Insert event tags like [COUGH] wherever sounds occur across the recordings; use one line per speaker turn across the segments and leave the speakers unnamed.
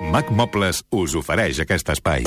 Mac Mobles us ofereix aquest espai.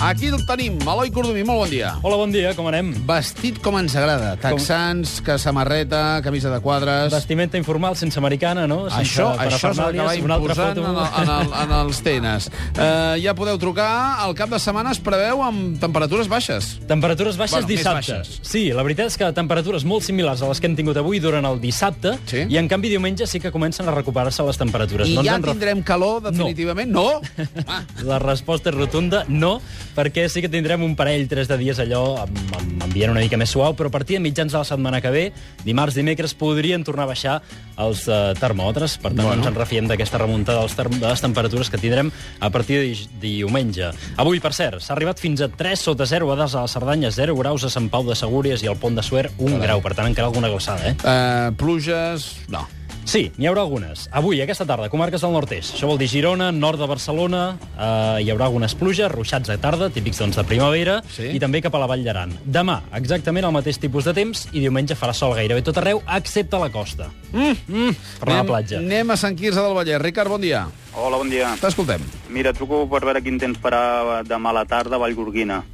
Aquí el tenim, Eloi Cordomí, molt bon dia.
Hola, bon dia, com anem?
Vestit com ens agrada. Texans, que samarreta, camisa de quadres...
Vestimenta informal, sense americana, no? Sense
Això, això s'ha d'acabar
parafernàlies, una altra
imposant en,
foto.
el, en, el, en els tenes. Uh, ja podeu trucar. El cap de setmana es preveu amb temperatures baixes.
Temperatures baixes
Bueno, més
dissabte.
baixes.
Sí, la veritat és que temperatures molt similars a les que hem tingut avui durant el dissabte,
Sí.
i en canvi diumenge sí que comencen a recuperar-se les temperatures.
I
Doncs no ens
ja
en ref-
tindrem calor, definitivament? No.
[LAUGHS]
Ah,
La resposta és rotunda, no, perquè sí que tindrem un parell, tres de dies allò amb, amb ambient una mica més suau, però a partir de mitjans de la setmana que ve, dimarts, dimecres, podrien tornar a baixar els eh, termòmetres, per tant, bueno. ens en refiem d'aquesta remuntada dels term- de les temperatures que tindrem a partir de di- diumenge. Avui, per cert, s'ha arribat fins a 3 sota 0 a Dades a la Cerdanya, 0 graus a Sant Pau de Segúries i al Pont de Suert, 1 grau, per tant, encara alguna glaçada, eh?
Uh, pluges... No.
Sí, n'hi haurà algunes. Avui, aquesta tarda, comarques del nord-est. Això vol dir Girona, nord de Barcelona, eh, hi haurà algunes pluges, ruixats de tarda, típics doncs, de primavera,
Sí.
i també cap a la Vall d'Aran. Demà, exactament el mateix tipus de temps, i diumenge farà sol gairebé tot arreu, excepte a la costa. Mm. Mm. Per anar a la platja.
anem a Sant Quirze del Vallès. Ricard, bon dia.
Hola, bon dia.
T'escoltem.
Mira, truco per veure quin temps farà demà a la tarda a Vallgorguina.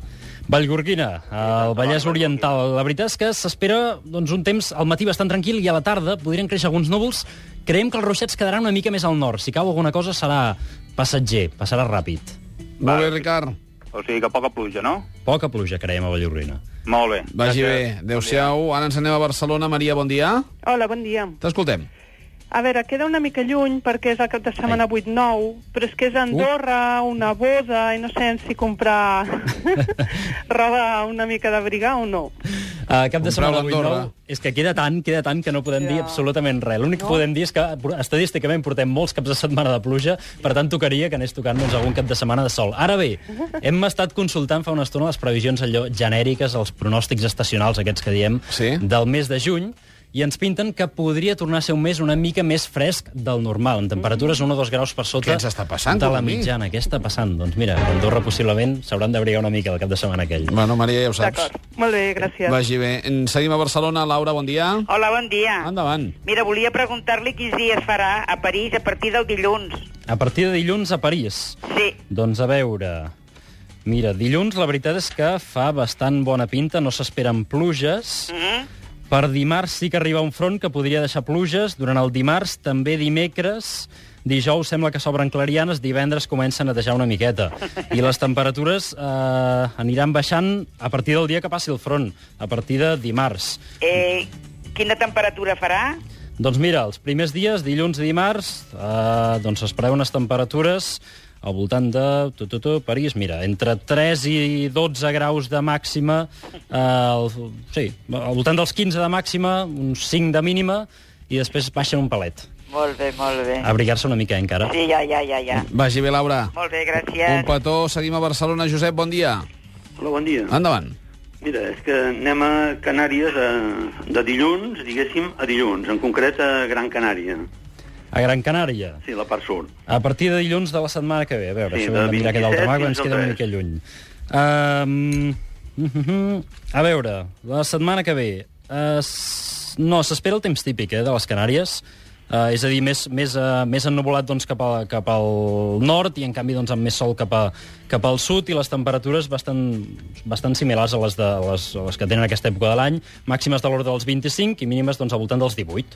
Vallgorguina, al Vallès Oriental. La veritat és que s'espera doncs, un temps al matí bastant tranquil i a la tarda podrien créixer alguns núvols. Creiem que els ruixats quedaran una mica més al nord. Si cau alguna cosa serà passatger, passarà ràpid.
Molt bé, Ricard.
O sigui que poca pluja, no?
Poca pluja, creiem, a Vallorguina.
Molt bé.
Vagi bé.
Gràcies.
Adéu-siau. Ara ens anem a Barcelona. Maria, bon dia.
Hola, bon dia.
T'escoltem.
A veure, queda una mica lluny perquè és el cap de setmana 8-9, però és que és a Andorra, una boda, i no sé si comprar roba una mica d'abrigar o no.
Uh, cap de
Compreu
setmana avui
l'Andorra.
nou. És que queda tant, queda tant, que no podem
Ja.
dir absolutament res. L'únic que podem dir és que por- estadísticament portem molts caps de setmana de pluja, per tant tocaria que anés tocant doncs, algun cap de setmana de sol. Ara bé, hem estat consultant fa una estona les previsions allò genèriques, els pronòstics estacionals aquests que diem,
Sí.
del mes de juny, i ens pinten que podria tornar a ser un mes una mica més fresc del normal, amb temperatures 1 o 2 graus per sota
Què ens està passant,
de la
Colomí?
mitjana. Què està passant? Doncs mira, a Andorra possiblement s'hauran d'abrigar una mica el cap de setmana aquell.
Bueno, Maria, ja ho saps.
D'acord. Molt bé, gràcies.
Vagi bé. En- Seguim a Barcelona. Laura, bon dia.
Hola, bon dia.
Endavant.
Mira, volia preguntar-li quins dies farà a París a partir del dilluns.
A partir de dilluns a París.
Sí,
Doncs a veure... Mira, dilluns la veritat és que fa bastant bona pinta, no s'esperen pluges. Mm -hmm. Per dimarts sí que arriba un front que podria deixar pluges. Durant el dimarts, també dimecres, dijous sembla que s'obren clarianes, divendres comença a netejar una miqueta. I les temperatures eh, aniran baixant a partir del dia que passi el front, a partir de dimarts.
eh, quina temperatura farà?
Doncs mira, els primers dies, dilluns i dimarts, eh, doncs es preveuen unes temperatures al voltant de tu, tu, tu, París, mira, entre 3 i 12 graus de màxima, eh, el, sí, al voltant dels 15 de màxima, uns 5 de mínima, i després baixen un palet.
Molt bé, molt bé.
Abrigar-se una mica eh, encara.
Sí, ja, ja, ja, ja.
Vagi bé, Laura.
Molt bé,
Un
gràcies.
petó. Seguim a Barcelona. Josep, bon dia.
Hola, bon dia.
Endavant.
Mira, és que anem a Canàries a, de dilluns, diguéssim, a dilluns, en concret a Gran Canària,
A Gran Canària.
sí, la part sud.
A partir de dilluns de la setmana que ve. A veure,
Sí,
sí, això
de
ho hem de mirar aquest
27
altre mag,
fins
ens
al
queda una
3.
mica lluny. Um, mm -hmm. a veure, la setmana que ve... Uh, no, s'espera el temps típic eh, de les Canàries, Uh, és a dir, més, més, uh, més ennubulat doncs, cap, a, cap al nord i, en canvi, doncs, amb més sol cap, a, cap al sud i les temperatures bastant, bastant similars a les, de, a les, a les que tenen aquesta època de l'any, màximes de l'ordre dels 25 i mínimes doncs, al voltant dels 18.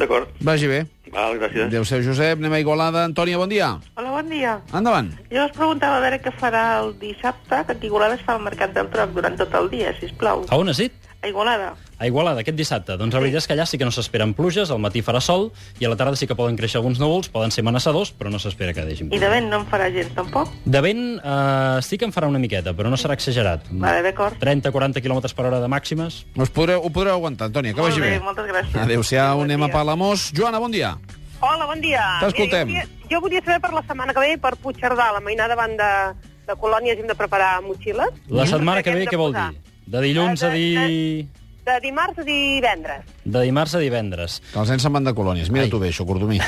D'acord,
Vagi bé.
val, gràcies.
Adéu-siau, Josep. Anem a Igualada. Antònia, bon dia.
Hola, bon dia.
Endavant.
Jo us preguntava a veure què farà el dissabte, que a Igualada es fa el Mercat del Troc durant tot el dia, si plau.
A on has dit?
A Igualada.
A Igualada, aquest dissabte. Doncs la veritat és que allà sí que no s'esperen pluges, al matí farà sol, i a la tarda sí que poden créixer alguns núvols, poden ser amenaçadors, però no s'espera que deixin.
I de vent no en farà gens, tampoc.
De vent eh, sí que en farà una miqueta, però no serà exagerat.
Vale, d'acord.
30-40 km per hora de màximes.
Us podreu, ho podreu aguantar, Antònia, que
Molt
vagi
bé,
bé.
moltes gràcies.
Adéu-siau,
Bon
anem a
dia.
Palamós. Joana, bon dia.
Hola, bon dia.
T'escoltem.
Mira, Jo, volia- jo volia saber per la setmana que ve, per Puigcerdà, la mainada davant de, de colònies, hem de preparar motxilles.
La setmana que
Perquè
ve
Mm. hem
què
de
vol dir?
posar
De dilluns a di...
De dimarts a divendres.
De dimarts a divendres.
Que els nens se'n van de colònies. Mira
Ai.
tu bé, això, Cordomí.
no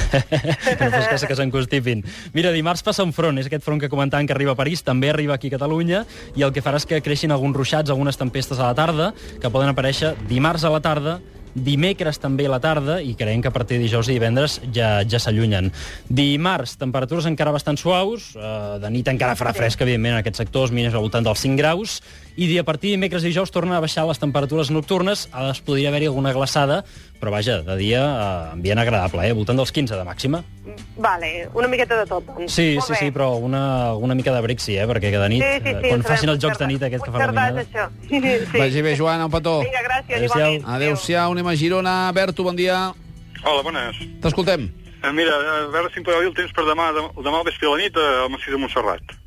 fos cas [LAUGHS] que s'encostipin. Mira, dimarts passa un front, és aquest front que comentaven que arriba a París, també arriba aquí a Catalunya, i el que farà és que creixin alguns ruixats, algunes tempestes a la tarda, que poden aparèixer dimarts a la tarda, dimecres també a la tarda, i creiem que a partir de dijous i divendres ja ja s'allunyen. Dimarts, temperatures encara bastant suaus, eh, de nit encara farà fresc, evidentment, en aquests sectors, mínims al voltant dels 5 graus, i a partir de dimecres i dijous tornen a baixar les temperatures nocturnes, eh, es podria haver-hi alguna glaçada, però vaja, de dia eh, ambient agradable, eh, al voltant dels 15 de màxima.
Vale, una miqueta de tot, doncs.
Sí,
Molt
sí,
bé.
sí, però una, una mica de bric sí, eh, perquè cada nit,
Sí, sí,
eh,
sí,
quan
ens
facin
sabem
els jocs de
conservar-
nit aquesta fan la
conservat,
minada...
això. [LAUGHS] Sí.
Vagi bé, Joan, un petó.
Vinga, gràcies,
Adéu-siau.
igualment.
Oh. Adéu-siau, anem a Girona. Berto, bon dia.
Hola, bones.
T'escoltem.
Eh, Mira, a veure si em podeu dir el temps per demà, dem- demà al vespre i a la nit eh, al Massís de Montserrat.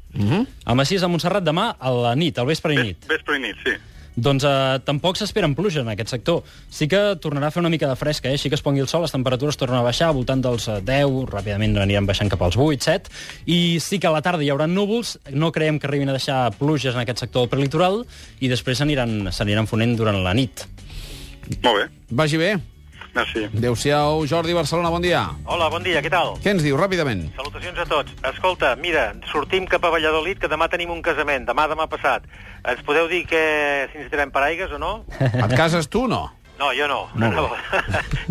A Massís, a Montserrat, demà a la nit, al vespre i nit.
Vespre i nit, sí.
Doncs eh, tampoc s'esperen pluja en aquest sector. Sí que tornarà a fer una mica de fresca, eh? així que es pongui el sol, les temperatures tornen a baixar, al voltant dels eh, 10, ràpidament aniran baixant cap als 8, 7, i sí que a la tarda hi haurà núvols, no creiem que arribin a deixar pluges en aquest sector del prelitoral, i després s'aniran s'aniran fonent durant la nit.
Molt bé,
Vagi bé.
Ah,
merci.
Adéu-siau, Jordi, Barcelona, bon dia.
Hola, bon dia, què tal?
Què ens diu, ràpidament?
Salutacions a tots. Escolta, mira, sortim cap a Valladolid, que demà tenim un casament, demà, demà passat. Ens podeu dir que si ens tirem paraigues
[LAUGHS]
o no?
Et cases tu o no?
No, jo no. no, no. [LAUGHS]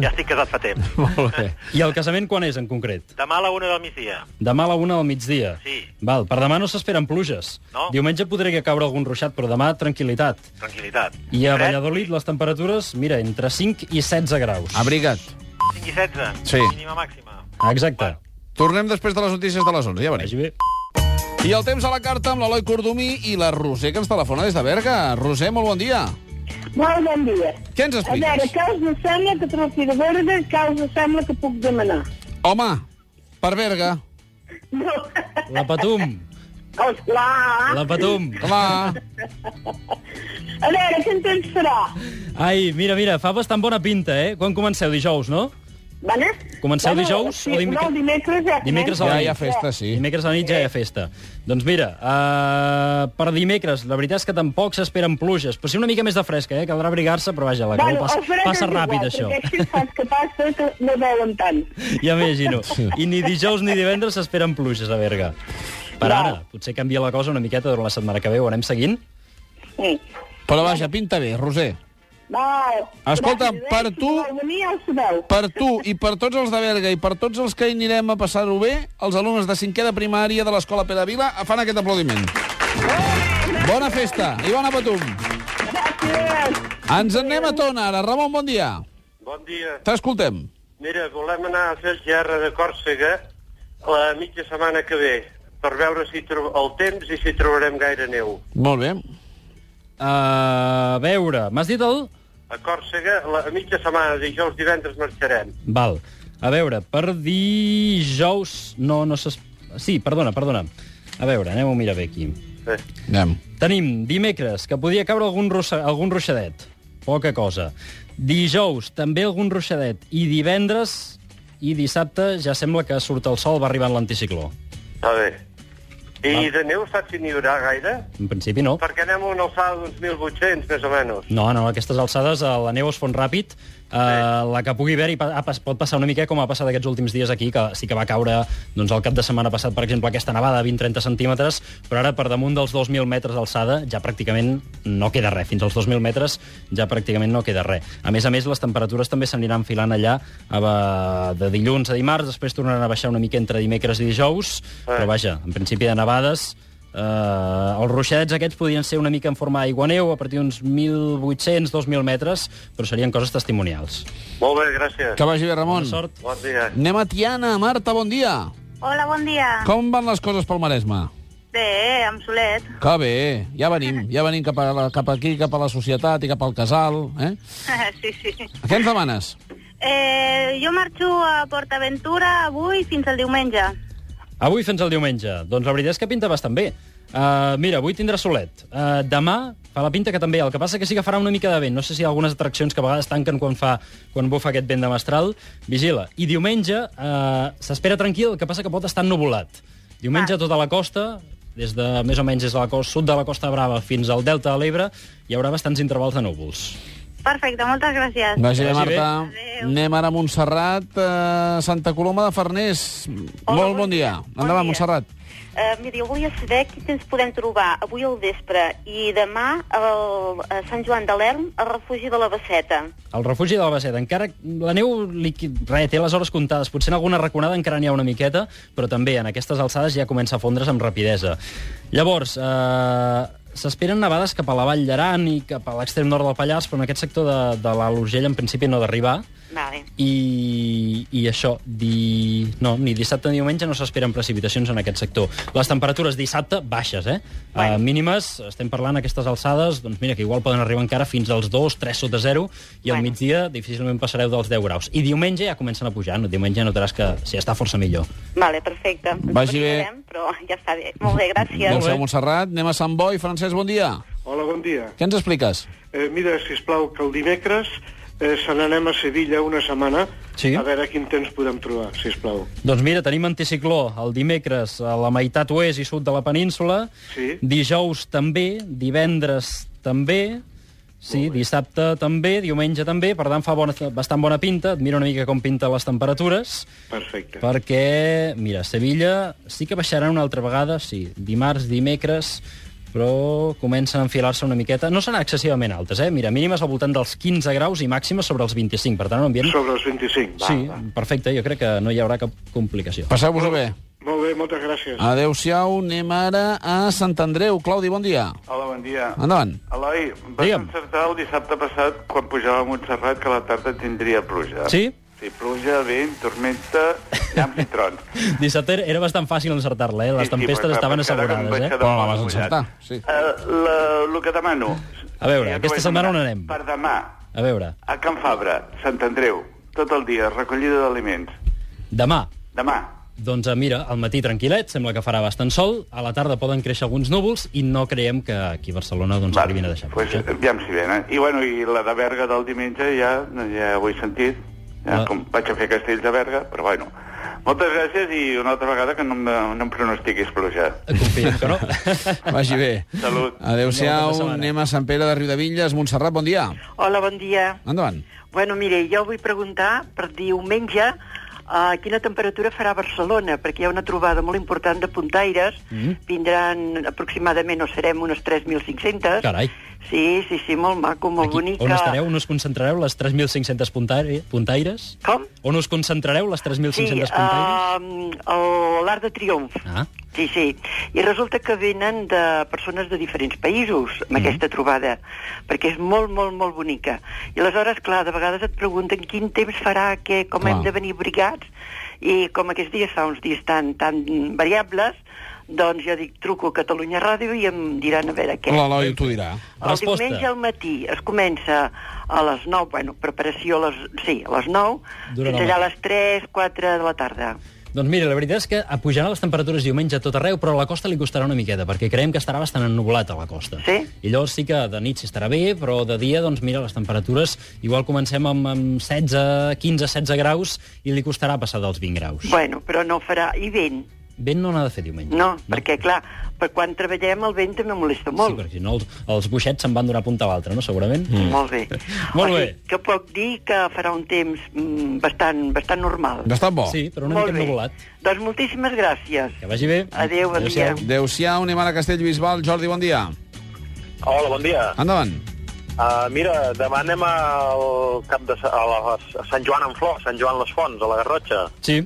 ja estic casat fa temps.
[LAUGHS] Molt bé.
I el casament quan és, en concret?
Demà a la una del migdia.
Demà a la una del migdia.
Sí.
Val, per demà no s'esperen pluges.
No.
Diumenge podria caure algun ruixat, però demà tranquil·litat.
Tranquil·litat.
I a
Fred,
Valladolid les temperatures, mira, entre 5 i 16 graus.
Abriga't.
5 i 16.
Sí.
Mínima màxima.
Exacte.
Tornem després de les notícies de les 11, ja venim.
Vagi bé.
I el temps a la carta amb l'Eloi Cordomí i la Roser, que ens telefona des de Berga. Roser, molt bon dia.
Molt bon dia.
Què ens
A veure,
expliques?
què us sembla que trobi de verda, què us sembla que puc demanar?
Home, per Berga.
No,
La Patum,
esclar.
la Patum.
Home,
A veure, quin temps farà?
Ai, mira, mira, fa bastant bona pinta, eh? Quan comenceu? Dijous, no?
Bueno?
Comenceu
bueno,
dijous
Sí,
o dimec-
no, dimecres ja.
Dimecres a la
ja
nit.
hi ha festa, sí.
Dimecres a la nit ja hi ha festa. Doncs mira, uh, per dimecres, la veritat és que tampoc s'esperen pluges, però sí una mica més de fresca, eh? Caldrà abrigar-se, però vaja, la calor
Bueno,
passa,
el fred
passa
és
ràpid,
igual,
això.
Perquè així saps que passa que no veuen tant.
[LAUGHS] Ja m'imagino. I ni dijous ni divendres s'esperen pluges a Berga. Per
Val.
ara, potser canvia la cosa una miqueta durant la setmana que ve, ho anem seguint.
Sí.
Però vaja, pinta bé, Roser.
Val.
Escolta,
Gràcies, eh?
per
Si
tu-
vol venir, ja ho sabeu.
Per tu i per tots els de Berga i per tots els que hi anirem a passar-ho bé, els alumnes de cinquè de primària de l'Escola Pere Vila fan aquest aplaudiment. Bona festa i bona patum.
Gràcies.
Ens en anem a Tona, ara. Ramon, bon dia.
Bon dia.
T'escoltem.
Mira, volem anar a Gerra de Còrsega la mitja setmana que ve per veure si el temps i si trobarem gaire neu.
Molt bé.
Uh, Eh, a veure, m'has dit el...
A Còrsega, la a mitja setmana, dijous, divendres, marxarem.
Val. A veure, per dijous... No, no s'es... Sí, perdona, perdona. A veure, anem a mirar bé aquí.
Eh.
Anem.
Tenim dimecres, que podia caure algun, ruixa, algun ruixadet. Poca cosa. Dijous, també algun ruixadet. I divendres i dissabte ja sembla que surt el sol, va arribant l'anticicló.
A veure. I de neu saps si n'hi haurà gaire?
En principi no.
Perquè anem a una alçada d'uns 1.800, més o menys.
No, no, a aquestes alçades eh, la neu es fon ràpid. Uh, la que pugui haver-hi pa- ha pas- pot passar una mica com ha passat aquests últims dies aquí, que sí que va caure doncs, el cap de setmana passat, per exemple, aquesta nevada de 20-30 centímetres, però ara per damunt dels 2.000 metres d'alçada ja pràcticament no queda res. Fins als 2.000 metres ja pràcticament no queda res. A més a més, les temperatures també s'aniran filant allà a, va- de dilluns a dimarts, després tornaran a baixar una mica entre dimecres i dijous, però vaja, en principi de nevades Uh, els ruixadets aquests podien ser una mica en forma d'aigua-neu, a partir d'uns 1.800-2.000 metres, però serien coses testimonials.
Molt bé, gràcies.
Que vagi bé, Ramon.
Bona sort.
Bon dia.
Anem a Tiana. Marta, bon dia.
Hola, bon dia.
Com van les coses pel Maresme?
Bé, eh, amb Solet. [LAUGHS]
Que bé, ja venim, ja venim cap, a la, cap aquí, cap a la societat i cap al casal, eh?
sí, sí.
Què ens demanes?
Eh, jo marxo a PortAventura avui fins al diumenge.
Avui fins al diumenge. Doncs la veritat és que pinta bastant bé. Uh, mira, avui tindrà solet. Uh, demà fa la pinta que també. El que passa que sí que farà una mica de vent. No sé si hi ha algunes atraccions que a vegades tanquen quan, fa, quan bufa aquest vent de mestral. Vigila. I diumenge uh, s'espera tranquil, el que passa que pot estar ennuvolat. Diumenge ah. tota la costa, des de més o menys des de la costa, sud de la Costa Brava fins al delta de l'Ebre, hi haurà bastants intervals de núvols.
Perfecte, moltes gràcies.
Vagi bé,
vagi
Marta.
Adéu.
Anem ara a eh, Montserrat, a Santa Coloma de Farners. Molt bon dia. Endavant, Montserrat.
Uh, mira, jo volia saber qui ens podem trobar avui al vespre i demà al, a Sant Joan de l'Erm, al refugi de la Basseta.
El refugi de la Basseta. Encara la neu li... re, té les hores comptades. Potser en alguna raconada encara n'hi ha una miqueta, però també en aquestes alçades ja comença a fondre's amb rapidesa. Llavors, eh, s'esperen nevades cap a la vall d'Aran i cap a l'extrem nord del Pallars, però en aquest sector de, de l'Alt Urgell en principi no ha d'arribar.
Vale.
I, i això, di... no, ni dissabte ni diumenge no s'esperen precipitacions en aquest sector. Les temperatures dissabte baixes, eh? Bueno. Uh, mínimes, estem parlant a aquestes alçades, doncs mira, que igual poden arribar encara fins als 2, 3 sota 0, i bueno. al migdia difícilment passareu dels 10 graus. I diumenge ja comencen a pujar, no? diumenge notaràs que si està força millor.
Vale, perfecte. Ens
Vagi bé.
aprofitarem, Però ja està bé. Molt bé, gràcies.
Molt bé. Montserrat, anem a Sant Boi. Francesc, bon dia.
Hola, bon dia.
Què ens expliques?
Eh, mira, si plau que el dimecres eh, se n'anem a Sevilla una setmana
Sí.
a veure quin temps podem trobar, si plau.
Doncs mira, tenim anticicló el dimecres a la meitat oest i sud de la península,
Sí.
dijous també, divendres també, sí, dissabte també, diumenge també, per tant fa bona, bastant bona pinta, et mira una mica com pinta les temperatures,
Perfecte.
perquè, mira, Sevilla sí que baixaran una altra vegada, sí, dimarts, dimecres, però comencen a enfilar-se una miqueta. No seran excessivament altes, eh? Mira, mínimes al voltant dels 15 graus i màximes sobre els 25, per tant, un ambient...
Sobre els 25, va,
Sí,
va.
perfecte, jo crec que no hi haurà cap complicació.
Passeu-vos-ho bé.
Molt bé, moltes gràcies.
Ah.
Adéu-siau, anem ara a Sant Andreu. Claudi, bon dia.
Hola, bon dia.
Endavant.
Eloi, vas
Digue'm.
encertar el dissabte passat quan pujava a Montserrat que a la tarda tindria pluja.
Sí?
Sí, pluja, vent, tormenta,
[LAUGHS]
llamps i trons.
Dissabte era bastant fàcil encertar-la, eh? Les
Sí, sí,
tempestes
però
estaven
cada cop
assegurades,
vaig
eh?
quedar Però Oh, la vas molt encertar,
sí.
Uh, la, el que demano...
A veure,
ja t'ho
aquesta
he
setmana on
demanat,
anem?
Per demà,
A veure,
a Can Fabra, Sant Andreu, tot el dia, recollida d'aliments.
demà,
Demà.
doncs eh, mira, al matí tranquil·let, sembla que farà bastant sol, a la tarda poden créixer alguns núvols i no creiem que aquí a Barcelona doncs, arribin a deixar.
Pues, eh, aviam si venen. I, bueno, I la de Berga del diumenge ja, ja ho he sentit. Ja,
Ah.
com vaig a fer castells de Berga, però bueno. Moltes gràcies i una altra vegada que no em, no em pronostiquis pluja.
Confiem Eh,
[LAUGHS]
que no.
[LAUGHS] Vagi bé.
Salut.
Adéu-siau, anem a Sant Pere de Riudevilles. Montserrat, bon dia.
Hola, bon dia.
Endavant.
Bueno, mire, jo vull preguntar per diumenge a uh, quina temperatura farà Barcelona, perquè hi ha una trobada molt important de puntaires,
Mm.
vindran aproximadament, o serem unes 3.500.
Carai.
Sí, sí, sí, molt maco, molt Aquí, bonica.
On estareu? On us concentrareu les 3.500 puntai- puntaires?
Com?
On us concentrareu les 3.500
Sí, eh,
puntaires?
uh, l'Arc de Triomf.
Ah.
Sí, sí. I resulta que venen de persones de diferents països amb mm. aquesta trobada, perquè és molt, molt, molt bonica. I aleshores, clar, de vegades et pregunten quin temps farà, què, com
Clar.
hem de venir brigats, i com aquests dies fa uns dies tan, tan variables, doncs jo dic, truco a Catalunya Ràdio i em diran a veure què.
L'Eloi t'ho dirà.
El diumenge al matí es comença a les 9, bueno, preparació a les, sí, a les 9,
Durant el
fins allà a
matí.
les 3, 4 de la tarda.
Doncs mira, la veritat és que pujaran les temperatures diumenge a tot arreu, però a la costa li costarà una miqueta, perquè creiem que estarà bastant ennubulat a la costa.
Sí?
I llavors sí que de nit s'estarà bé, però de dia, doncs mira, les temperatures igual comencem amb, amb 16, 15, 16 graus i li costarà passar dels 20 graus.
Bueno, però no farà... I vent?
Vent no n'ha de fer diumenge.
No, no, perquè, clar, per quan treballem el vent també molesta molt.
Sí, perquè si no els, els boixets se'n van d'una punta a l'altra, no? Segurament.
Mm. Molt bé.
[LAUGHS] Molt bé.
Que puc dir que farà un temps mm, bastant, bastant normal.
Bastant bo.
Sí, però una
Molt
mica
bé.
ennubulat.
Doncs moltíssimes gràcies.
Que vagi bé.
Adéu, bon dia.
Adéu-siau, anem ara a Castellbisbal. Jordi, bon dia.
Hola, bon dia.
Endavant.
Uh, mira, demà anem al cap de Sa- a, la, a Sant Joan en Flor, Sant Joan les Fonts, a la Garrotxa.
Sí.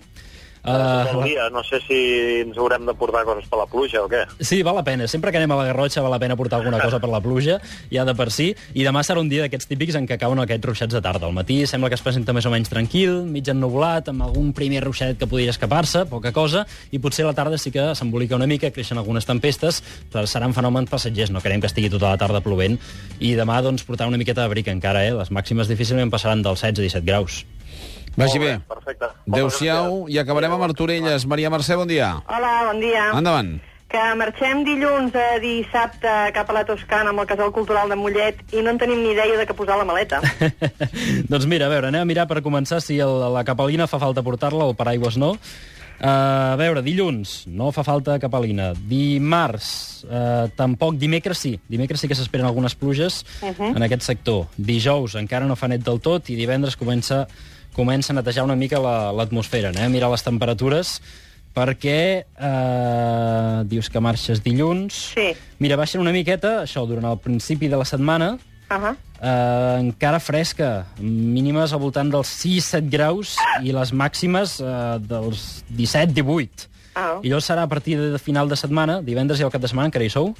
Uh,
Uh,
el dia. No sé si ens haurem de portar coses per la pluja o què.
Sí, val la pena. Sempre que anem a la Garrotxa val la pena portar alguna cosa per la pluja, ja de per si. I demà serà un dia d'aquests típics en què cauen aquests ruixats de tarda. Al matí sembla que es presenta més o menys tranquil, mig ennubulat, amb algun primer ruixadet que podria escapar-se, poca cosa, i potser a la tarda sí que s'embolica una mica, creixen algunes tempestes, però seran fenòmens passatgers, no creiem que estigui tota la tarda plovent. I demà, doncs, portar una miqueta d'abric encara, eh? Les màximes difícilment passaran dels 16 a 17 graus.
Vagi bé.
Perfecte.
Adéu-siau i acabarem amb Martorelles. Maria Mercè, bon dia.
Hola, bon dia.
Endavant.
Que marxem dilluns a dissabte cap a la Toscana amb el Casal Cultural de Mollet i no en tenim ni idea de què posar a la maleta.
[LAUGHS] Doncs mira, a veure, anem a mirar per començar si el, la capelina fa falta portar-la o paraigües no. Uh, a veure, dilluns no fa falta capelina. Dimarts uh, tampoc. Dimecres sí. Dimecres sí que s'esperen algunes pluges
Mhm.
en aquest sector. Dijous encara no fa net del tot i divendres comença, comença a netejar una mica la- l'atmosfera. La, Anem a mirar les eh? temperatures. perquè eh, dius que marxes dilluns. [LAUGHS]
Sí.
Mira, baixen una miqueta, això durant el principi de la setmana,
Uh -huh.
eh, encara fresca, mínimes al voltant dels 6-7 graus i les màximes eh, dels 17-18.
Au.
I llavors serà a partir de final de setmana, divendres i el cap de setmana, encara hi sou?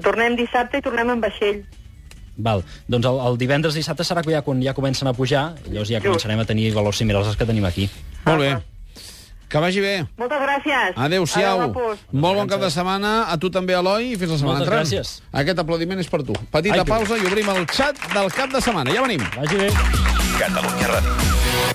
Tornem dissabte i tornem amb vaixell.
Val, doncs el, el divendres i dissabte serà ja quan ja comencen a pujar, i llavors ja començarem a tenir valors similars als que tenim aquí.
Molt bé. Que vagi bé.
Moltes gràcies.
Adéu-siau.
Adéu, guapos.
Molt bon cap de setmana. A tu també, Eloi, i fins la setmana
Moltes
entrant.
gràcies.
Aquest aplaudiment és per tu. Petita
Ai,
Ai,
tu.
pausa i obrim el xat del cap de setmana. Ja venim.
Vagi bé.
Catalunya Ràdio.